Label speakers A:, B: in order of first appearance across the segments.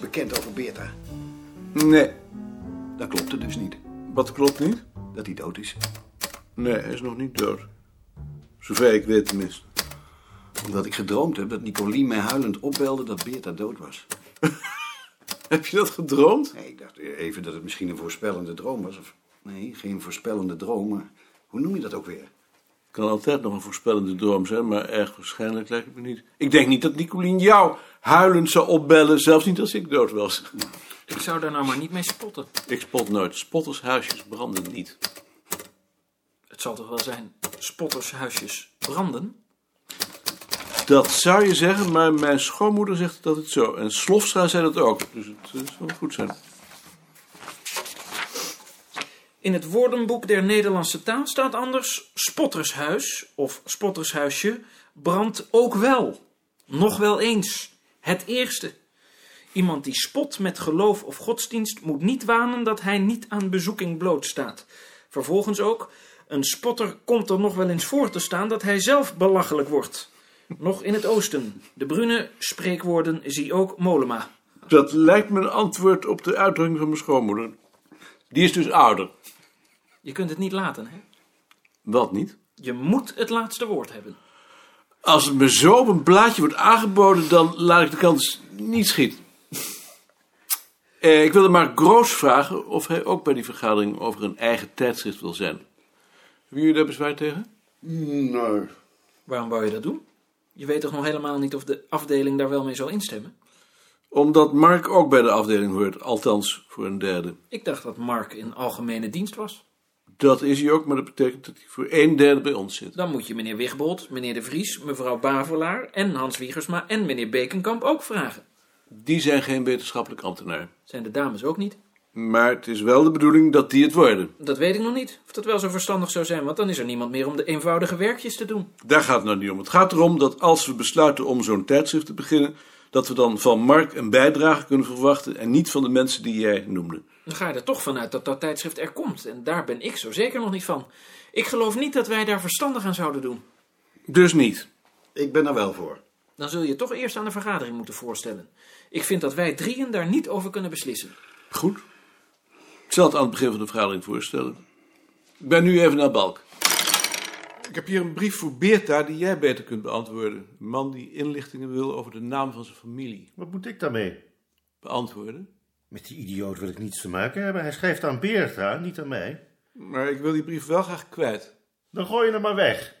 A: bekend over Beerta.
B: Nee,
A: Dat klopte dus niet.
B: wat klopt niet?
A: Dat hij dood is.
B: Nee, hij is nog niet dood. Zover ik weet tenminste.
A: Omdat ik gedroomd heb dat Nicolien mij huilend opbelde dat Beerta dood was.
B: Heb je dat gedroomd?
A: Nee, ik dacht even dat het misschien een voorspellende droom was. Of, nee, geen voorspellende droom, maar hoe noem je dat ook weer?
B: Kan altijd nog een voorspellende droom zijn, maar erg waarschijnlijk lijkt het me niet. Ik denk niet dat Nicolien jou huilend zou opbellen, zelfs niet als ik dood was.
C: Ik zou daar nou maar niet mee spotten.
B: Ik spot nooit. Spottershuisjes branden niet.
C: Het zal toch wel zijn spottershuisjes branden?
B: Dat zou je zeggen, maar mijn schoonmoeder zegt dat het zo. En Slofstra zei dat ook, dus het eh, zal goed zijn.
C: In het woordenboek der Nederlandse taal staat anders spottershuis of spottershuisje brandt ook wel. Nog wel eens. Het eerste. Iemand die spot met geloof of godsdienst moet niet wanen dat hij niet aan bezoeking blootstaat. Vervolgens ook, een spotter komt er nog wel eens voor te staan dat hij zelf belachelijk wordt. Nog in het oosten. De brune spreekwoorden zie ook Molema.
B: Dat lijkt me een antwoord op de uitdrukking van mijn schoonmoeder. Die is dus ouder.
C: Je kunt het niet laten, hè?
B: Wat niet?
C: Je moet het laatste woord hebben.
B: Als het me zo op een blaadje wordt aangeboden, dan laat ik de kans niet schieten. Eh, ik wilde Mark Groos vragen of hij ook bij die vergadering over een eigen tijdschrift wil zijn. Hebben jullie daar bezwaar tegen?
A: Nee.
C: Waarom wou je dat doen? Je weet toch nog helemaal niet of de afdeling daar wel mee zal instemmen?
B: Omdat Mark ook bij de afdeling hoort, althans voor een derde.
C: Ik dacht dat Mark in algemene dienst was.
B: Dat is hij ook, maar dat betekent dat hij voor een derde bij ons zit.
C: Dan moet je meneer Wigbold, meneer De Vries, mevrouw Bavelaar en Hans Wiegersma en meneer Bekenkamp ook vragen.
B: Die zijn geen wetenschappelijk ambtenaar.
C: Zijn de dames ook niet?
B: Maar het is wel de bedoeling dat die het worden.
C: Dat weet ik nog niet. Of dat wel zo verstandig zou zijn, want dan is er niemand meer om de eenvoudige werkjes te doen.
B: Daar gaat het nou niet om. Het gaat erom dat als we besluiten om zo'n tijdschrift te beginnen, dat we dan van Mark een bijdrage kunnen verwachten en niet van de mensen die jij noemde.
C: Dan ga je er toch vanuit dat dat tijdschrift er komt. En daar ben ik zo zeker nog niet van. Ik geloof niet dat wij daar verstandig aan zouden doen.
B: Dus niet.
A: Ik ben er wel voor.
C: Dan zul je toch eerst aan de vergadering moeten voorstellen. Ik vind dat wij drieën daar niet over kunnen beslissen.
B: Goed. Ik zal het aan het begin van de vergadering voorstellen. Ik ben nu even naar Balk. Ik heb hier een brief voor Beerta die jij beter kunt beantwoorden. Een man die inlichtingen wil over de naam van zijn familie.
D: Wat moet ik daarmee?
B: Beantwoorden?
D: Met die idioot wil ik niets te maken hebben. Hij schrijft aan Beerta, niet aan mij.
B: Maar ik wil die brief wel graag kwijt.
D: Dan gooi je hem maar weg.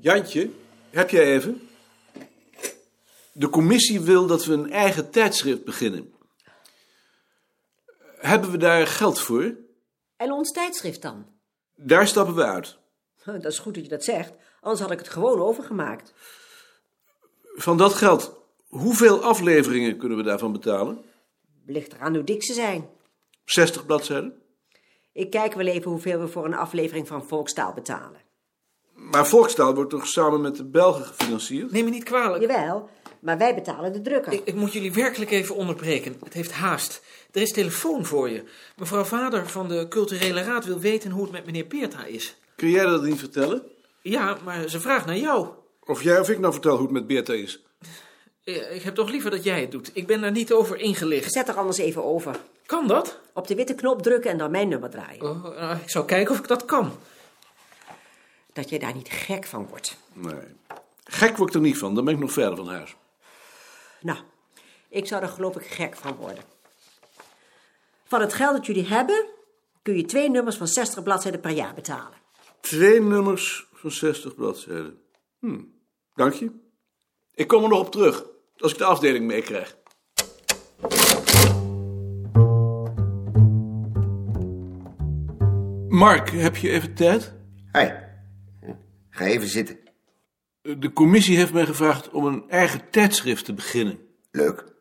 B: Jantje, heb jij even? De commissie wil dat we een eigen tijdschrift beginnen. Hebben we daar geld voor?
E: En ons tijdschrift dan?
B: Daar stappen we uit.
E: Dat is goed dat je dat zegt, anders had ik het gewoon overgemaakt.
B: Van dat geld, hoeveel afleveringen kunnen we daarvan betalen?
E: Ligt eraan hoe dik ze zijn.
B: 60 bladzijden?
E: Ik kijk wel even hoeveel we voor een aflevering van Volkstaal betalen.
B: Maar Volkstaal wordt toch samen met de Belgen gefinancierd?
C: Neem me niet kwalijk.
E: Jawel, maar wij betalen de drukker.
C: Ik, ik moet jullie werkelijk even onderbreken. Het heeft haast. Er is telefoon voor je. Mevrouw Vader van de Culturele Raad wil weten hoe het met meneer Beerta is.
B: Kun jij dat niet vertellen?
C: Ja, maar ze vraagt naar jou.
B: Of jij of ik nou vertel hoe het met Beerta is?
C: Eh, Ik heb toch liever dat jij het doet. Ik ben daar niet over ingelicht.
E: Zet er anders even over.
C: Kan dat?
E: Op de witte knop drukken en dan mijn nummer draaien.
C: Oh, nou, ik zou kijken of ik dat kan.
E: Dat je daar niet gek van wordt.
B: Nee. Gek word ik er niet van, dan ben ik nog verder van huis.
E: Nou, ik zou er geloof ik gek van worden. Van het geld dat jullie hebben, kun je twee nummers van 60 bladzijden per jaar betalen.
B: Twee nummers van 60 bladzijden. Hm, dank je. Ik kom er nog op terug, als ik de afdeling meekrijg. Mark, heb je even tijd?
F: Hoi. Ga even zitten.
B: De commissie heeft mij gevraagd om een eigen tijdschrift te beginnen.
F: Leuk.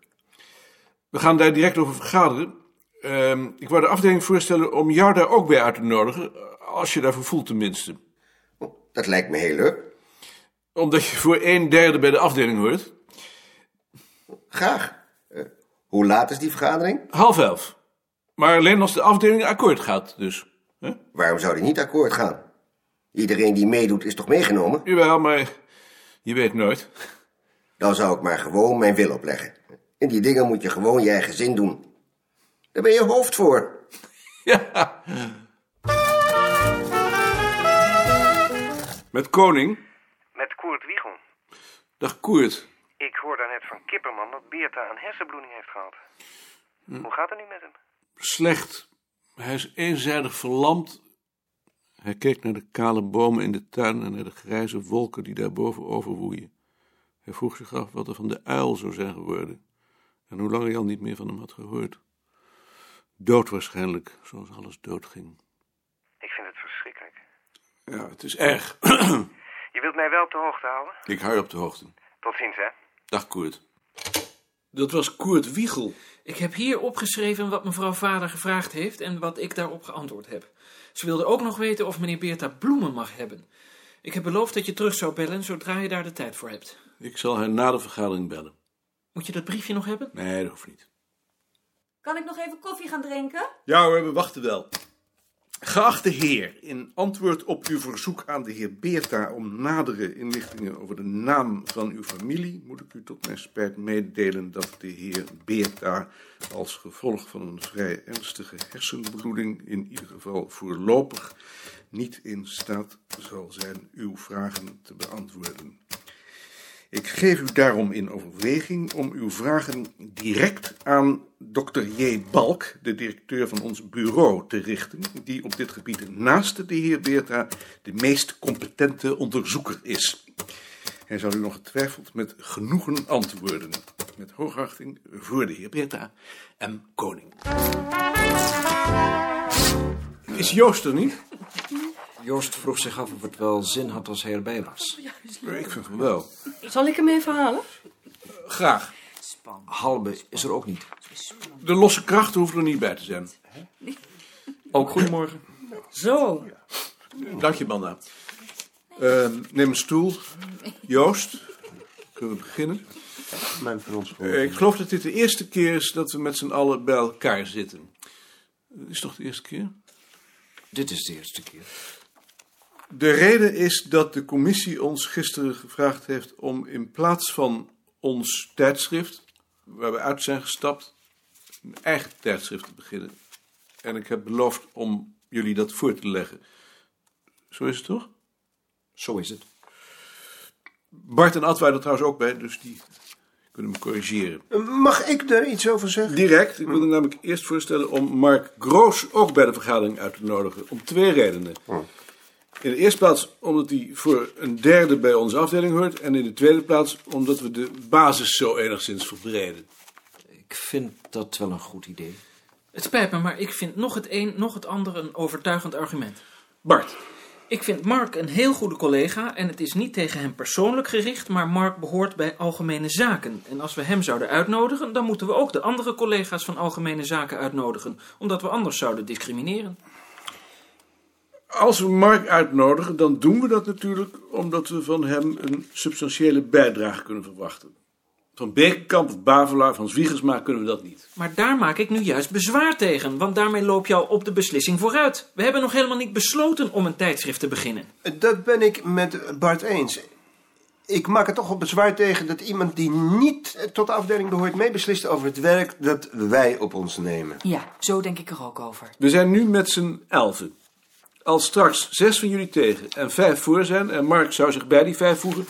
B: We gaan daar direct over vergaderen. Ehm, ik wou de afdeling voorstellen om jou daar ook bij uit te nodigen, eh, als je daarvoor voelt tenminste.
F: Dat lijkt me heel leuk.
B: Omdat je voor een derde bij de afdeling hoort.
F: Graag. Eh, hoe laat is die vergadering?
B: Half elf. Maar alleen als de afdeling akkoord gaat, dus. Hè?
F: Waarom zou die niet akkoord gaan? Iedereen die meedoet is toch meegenomen?
B: Jawel, maar je weet nooit.
F: Dan zou ik maar gewoon mijn wil opleggen. En die dingen moet je gewoon je eigen zin doen. Daar ben je hoofd voor.
B: Ja. Met Koning.
G: Met Koert Wiegel.
B: Dag Koert.
G: Ik hoor daarnet van Kipperman dat Beerta een hersenbloeding heeft gehad. Hoe gaat het nu met hem?
B: Slecht. Hij is eenzijdig verlamd. Hij keek naar de kale bomen in de tuin en naar de grijze wolken die daarboven overwoeien. Hij vroeg zich af wat er van de uil zou zijn geworden. En hoe lang hij al niet meer van hem had gehoord. Dood waarschijnlijk, zoals alles doodging.
G: Ik vind het verschrikkelijk.
B: Ja, het is erg.
G: Je wilt mij wel op de hoogte houden?
B: Ik hou je op de hoogte.
G: Tot ziens, hè?
B: Dag Koert. Dat was Koert Wiegel.
C: Ik heb hier opgeschreven wat mevrouw Vader gevraagd heeft en wat ik daarop geantwoord heb. Ze wilde ook nog weten of meneer Beerta bloemen mag hebben. Ik heb beloofd dat je terug zou bellen zodra je daar de tijd voor hebt.
B: Ik zal haar na de vergadering bellen.
C: Moet je dat briefje nog hebben?
B: Nee, dat hoeft niet.
H: Kan ik nog even koffie gaan drinken?
I: Ja hoor, we wachten wel. Geachte heer, in antwoord op uw verzoek aan de heer Beerta om nadere inlichtingen over de naam van uw familie, moet ik u tot mijn spijt meedelen dat de heer Beerta als gevolg van een vrij ernstige hersenbloeding in ieder geval voorlopig niet in staat zal zijn uw vragen te beantwoorden. Ik geef u daarom in overweging om uw vragen direct aan Dr. J. Balk, de directeur van ons bureau, te richten, die op dit gebied naast de heer Beerta de meest competente onderzoeker is. Hij zal u nog getwijfeld met genoegen antwoorden. Met hoogachting voor de heer Beerta en koning.
B: Is Joost er niet?
J: Joost vroeg zich af of het wel zin had als hij erbij was.
B: Ik vind van wel.
H: Zal ik hem even halen?
B: Graag.
J: Halbe is er ook niet.
B: De losse krachten hoeven er niet bij te zijn.
J: Ook goedemorgen.
H: Zo.
B: Dank je, Banda.
I: Ehm, neem een stoel.
B: Joost, kunnen we beginnen?
D: Mijn voor ons
B: Eh, Ik geloof dat dit de eerste keer is dat we met z'n allen bij elkaar zitten. Dat is toch de eerste keer?
J: Dit is de eerste keer.
I: De reden is dat de commissie ons gisteren gevraagd heeft om in plaats van ons tijdschrift, waar we uit zijn gestapt, een eigen tijdschrift te beginnen. En ik heb beloofd om jullie dat voor te leggen. Zo is het toch?
J: Zo is het.
I: Bart en Ad waren er trouwens ook bij, dus die kunnen me corrigeren.
F: Mag ik daar iets over zeggen?
B: Direct. Ik wilde namelijk eerst voorstellen om Mark Groos ook bij de vergadering uit te nodigen. Om twee redenen. In de eerste plaats omdat hij voor een derde bij onze afdeling hoort. En in de tweede plaats omdat we de basis zo enigszins verbreden.
J: Ik vind dat wel een goed idee.
C: Het spijt me, maar ik vind nog het een, nog het ander een overtuigend argument.
B: Bart,
C: Ik vind Mark een heel goede collega en het is niet tegen hem persoonlijk gericht, maar Mark behoort bij Algemene Zaken. En als we hem zouden uitnodigen, dan moeten we ook de andere collega's van Algemene Zaken uitnodigen, omdat we anders zouden discrimineren.
B: als we Mark uitnodigen, dan doen we dat natuurlijk omdat we van hem een substantiële bijdrage kunnen verwachten. Van Bekenkamp of Bavelaar, van Zwiegersma kunnen we dat niet.
C: Maar daar maak ik nu juist bezwaar tegen, want daarmee loop je al op de beslissing vooruit. We hebben nog helemaal niet besloten om een tijdschrift te beginnen.
F: Dat ben ik met Bart eens. Ik maak er toch op bezwaar tegen dat iemand die niet tot de afdeling behoort... meebeslist over het werk dat wij op ons nemen.
H: Ja, zo denk ik er ook over.
B: We zijn nu met z'n elfen. Als straks zes van jullie tegen en vijf voor zijn, en Mark zou zich bij die vijf voegen,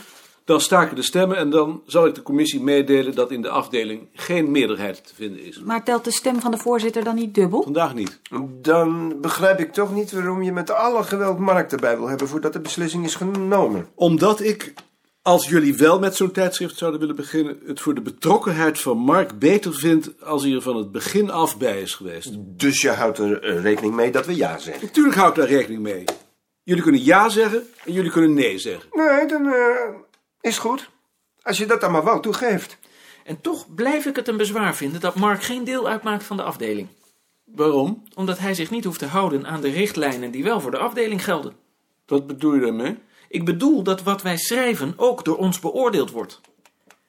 B: dan staken de stemmen en dan zal ik de commissie meedelen dat in de afdeling geen meerderheid te vinden is.
H: Maar telt de stem van de voorzitter dan niet dubbel?
B: Vandaag niet.
F: Dan begrijp ik toch niet waarom je met alle geweld Mark erbij wil hebben... voordat de beslissing is genomen.
B: Omdat ik, als jullie wel met zo'n tijdschrift zouden willen beginnen, het voor de betrokkenheid van Mark beter vind als hij er van het begin af bij is geweest.
F: Dus je houdt er eh, rekening mee dat we ja zeggen?
B: Natuurlijk hou ik daar rekening mee. Jullie kunnen ja zeggen en jullie kunnen nee zeggen.
F: Nee, dan eh, is goed. Als je dat dan maar wou toegeeft.
C: En toch blijf ik het een bezwaar vinden dat Mark geen deel uitmaakt van de afdeling,
B: Waarom?
C: omdat hij zich niet hoeft te houden aan de richtlijnen die wel voor de afdeling gelden.
B: Wat bedoel je daarmee?
C: Ik bedoel dat wat wij schrijven ook door ons beoordeeld wordt.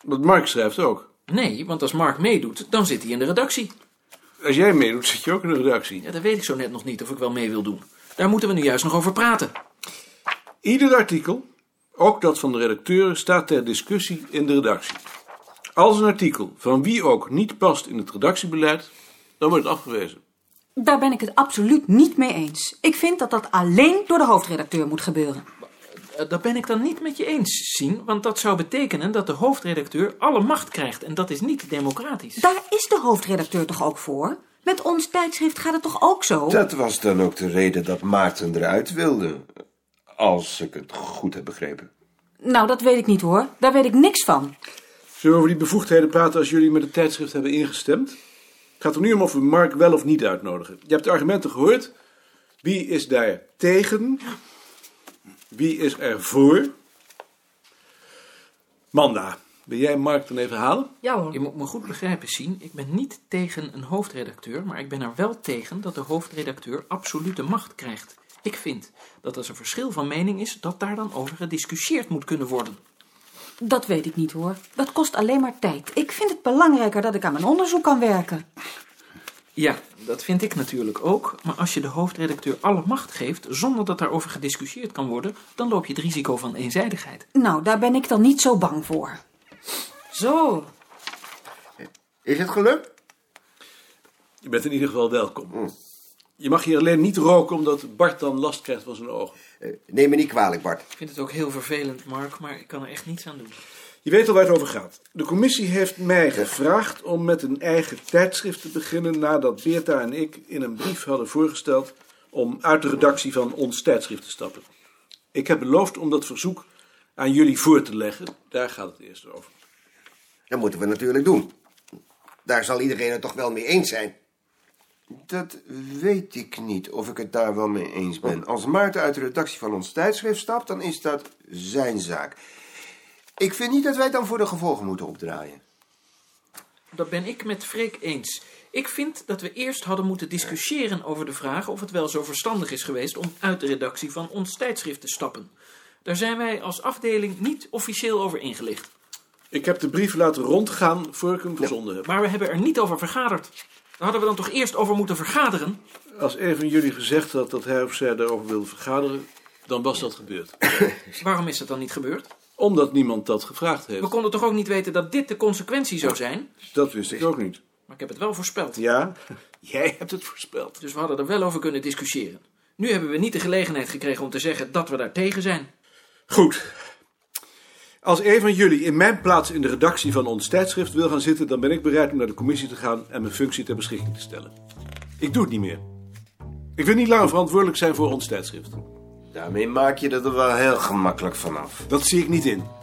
B: Wat Mark schrijft ook.
C: Nee, want als Mark meedoet, dan zit hij in de redactie.
B: Als jij meedoet, zit je ook in de redactie.
C: Ja, dat weet ik zo net nog niet of ik wel mee wil doen. Daar moeten we nu juist nog over praten.
B: Ieder artikel, ook dat van de redacteuren, staat ter discussie in de redactie. Als een artikel van wie ook niet past in het redactiebeleid, dan wordt het afgewezen.
H: Daar ben ik het absoluut niet mee eens. Ik vind dat dat alleen door de hoofdredacteur moet gebeuren.
C: Eh, Dat ben ik dan niet met je eens, Sien, want dat zou betekenen dat de hoofdredacteur alle macht krijgt en dat is niet democratisch.
H: Daar is de hoofdredacteur toch ook voor? Met ons tijdschrift gaat het toch ook zo?
F: Dat was dan ook de reden dat Maarten eruit wilde. Als ik het goed heb begrepen.
H: Nou, dat weet ik niet hoor. Daar weet ik niks van.
B: Zullen we over die bevoegdheden praten als jullie met het tijdschrift hebben ingestemd? Het gaat er nu om of we Mark wel of niet uitnodigen. Je hebt de argumenten gehoord. Wie is daar tegen? Wie is er voor? Manda, wil jij Mark dan even halen?
C: Ja hoor. Je moet me goed begrijpen, Sien. Ik ben niet tegen een hoofdredacteur, maar ik ben er wel tegen dat de hoofdredacteur absolute macht krijgt. Ik vind dat als er verschil van mening is, dat daar dan over gediscussieerd moet kunnen worden.
H: Dat weet ik niet hoor. Dat kost alleen maar tijd. Ik vind het belangrijker dat ik aan mijn onderzoek kan werken.
C: Ja, dat vind ik natuurlijk ook. Maar als je de hoofdredacteur alle macht geeft zonder dat daarover gediscussieerd kan worden, dan loop je het risico van eenzijdigheid.
H: Nou, daar ben ik dan niet zo bang voor. Zo.
D: Is het gelukt?
B: Je bent in ieder geval
F: Hm.
B: welkom. Je mag hier alleen niet roken omdat Bart dan last krijgt van zijn ogen.
F: Neem me niet kwalijk, Bart.
C: Ik vind het ook heel vervelend, Mark, maar ik kan er echt niets aan doen.
B: Je weet al waar het over gaat. De commissie heeft mij gevraagd om met een eigen tijdschrift te beginnen nadat Beerta en ik in een brief hadden voorgesteld om uit de redactie van ons tijdschrift te stappen. Ik heb beloofd om dat verzoek aan jullie voor te leggen. Daar gaat het eerst over.
K: Dat moeten we natuurlijk doen. Daar zal iedereen het toch wel mee eens zijn.
F: Dat weet ik niet of ik het daar wel mee eens ben. Als Maarten uit de redactie van ons tijdschrift stapt, dan is dat zijn zaak. Ik vind niet dat wij dan voor de gevolgen moeten opdraaien.
C: Dat ben ik met Freek eens. Ik vind dat we eerst hadden moeten discussiëren over de vraag of het wel zo verstandig is geweest om uit de redactie van ons tijdschrift te stappen. Daar zijn wij als afdeling niet officieel over ingelicht.
B: Ik heb de brief laten rondgaan voor ik hem verzonden heb.
C: Maar we hebben er niet over vergaderd. Daar hadden we dan toch eerst over moeten vergaderen?
B: Als een van jullie gezegd had dat hij of zij daarover wilde vergaderen, dan was dat gebeurd.
C: Waarom is dat dan niet gebeurd?
B: Omdat niemand dat gevraagd
C: We
B: heeft.
C: konden toch ook niet weten dat dit de consequentie zou zijn?
B: Dat wist ik ook niet.
C: Maar ik heb het wel voorspeld.
B: Ja? Jij hebt het voorspeld.
C: Dus we hadden er wel over kunnen discussiëren. Nu hebben we niet de gelegenheid gekregen om te zeggen dat we daar tegen zijn.
B: Goed. Als een van jullie in mijn plaats in de redactie van ons tijdschrift wil gaan zitten, dan ben ik bereid om naar de commissie te gaan en mijn functie ter beschikking te stellen. Ik doe het niet meer. Ik wil niet langer verantwoordelijk zijn voor ons tijdschrift.
F: Daarmee maak je dat er wel heel gemakkelijk vanaf.
B: Dat zie ik niet in.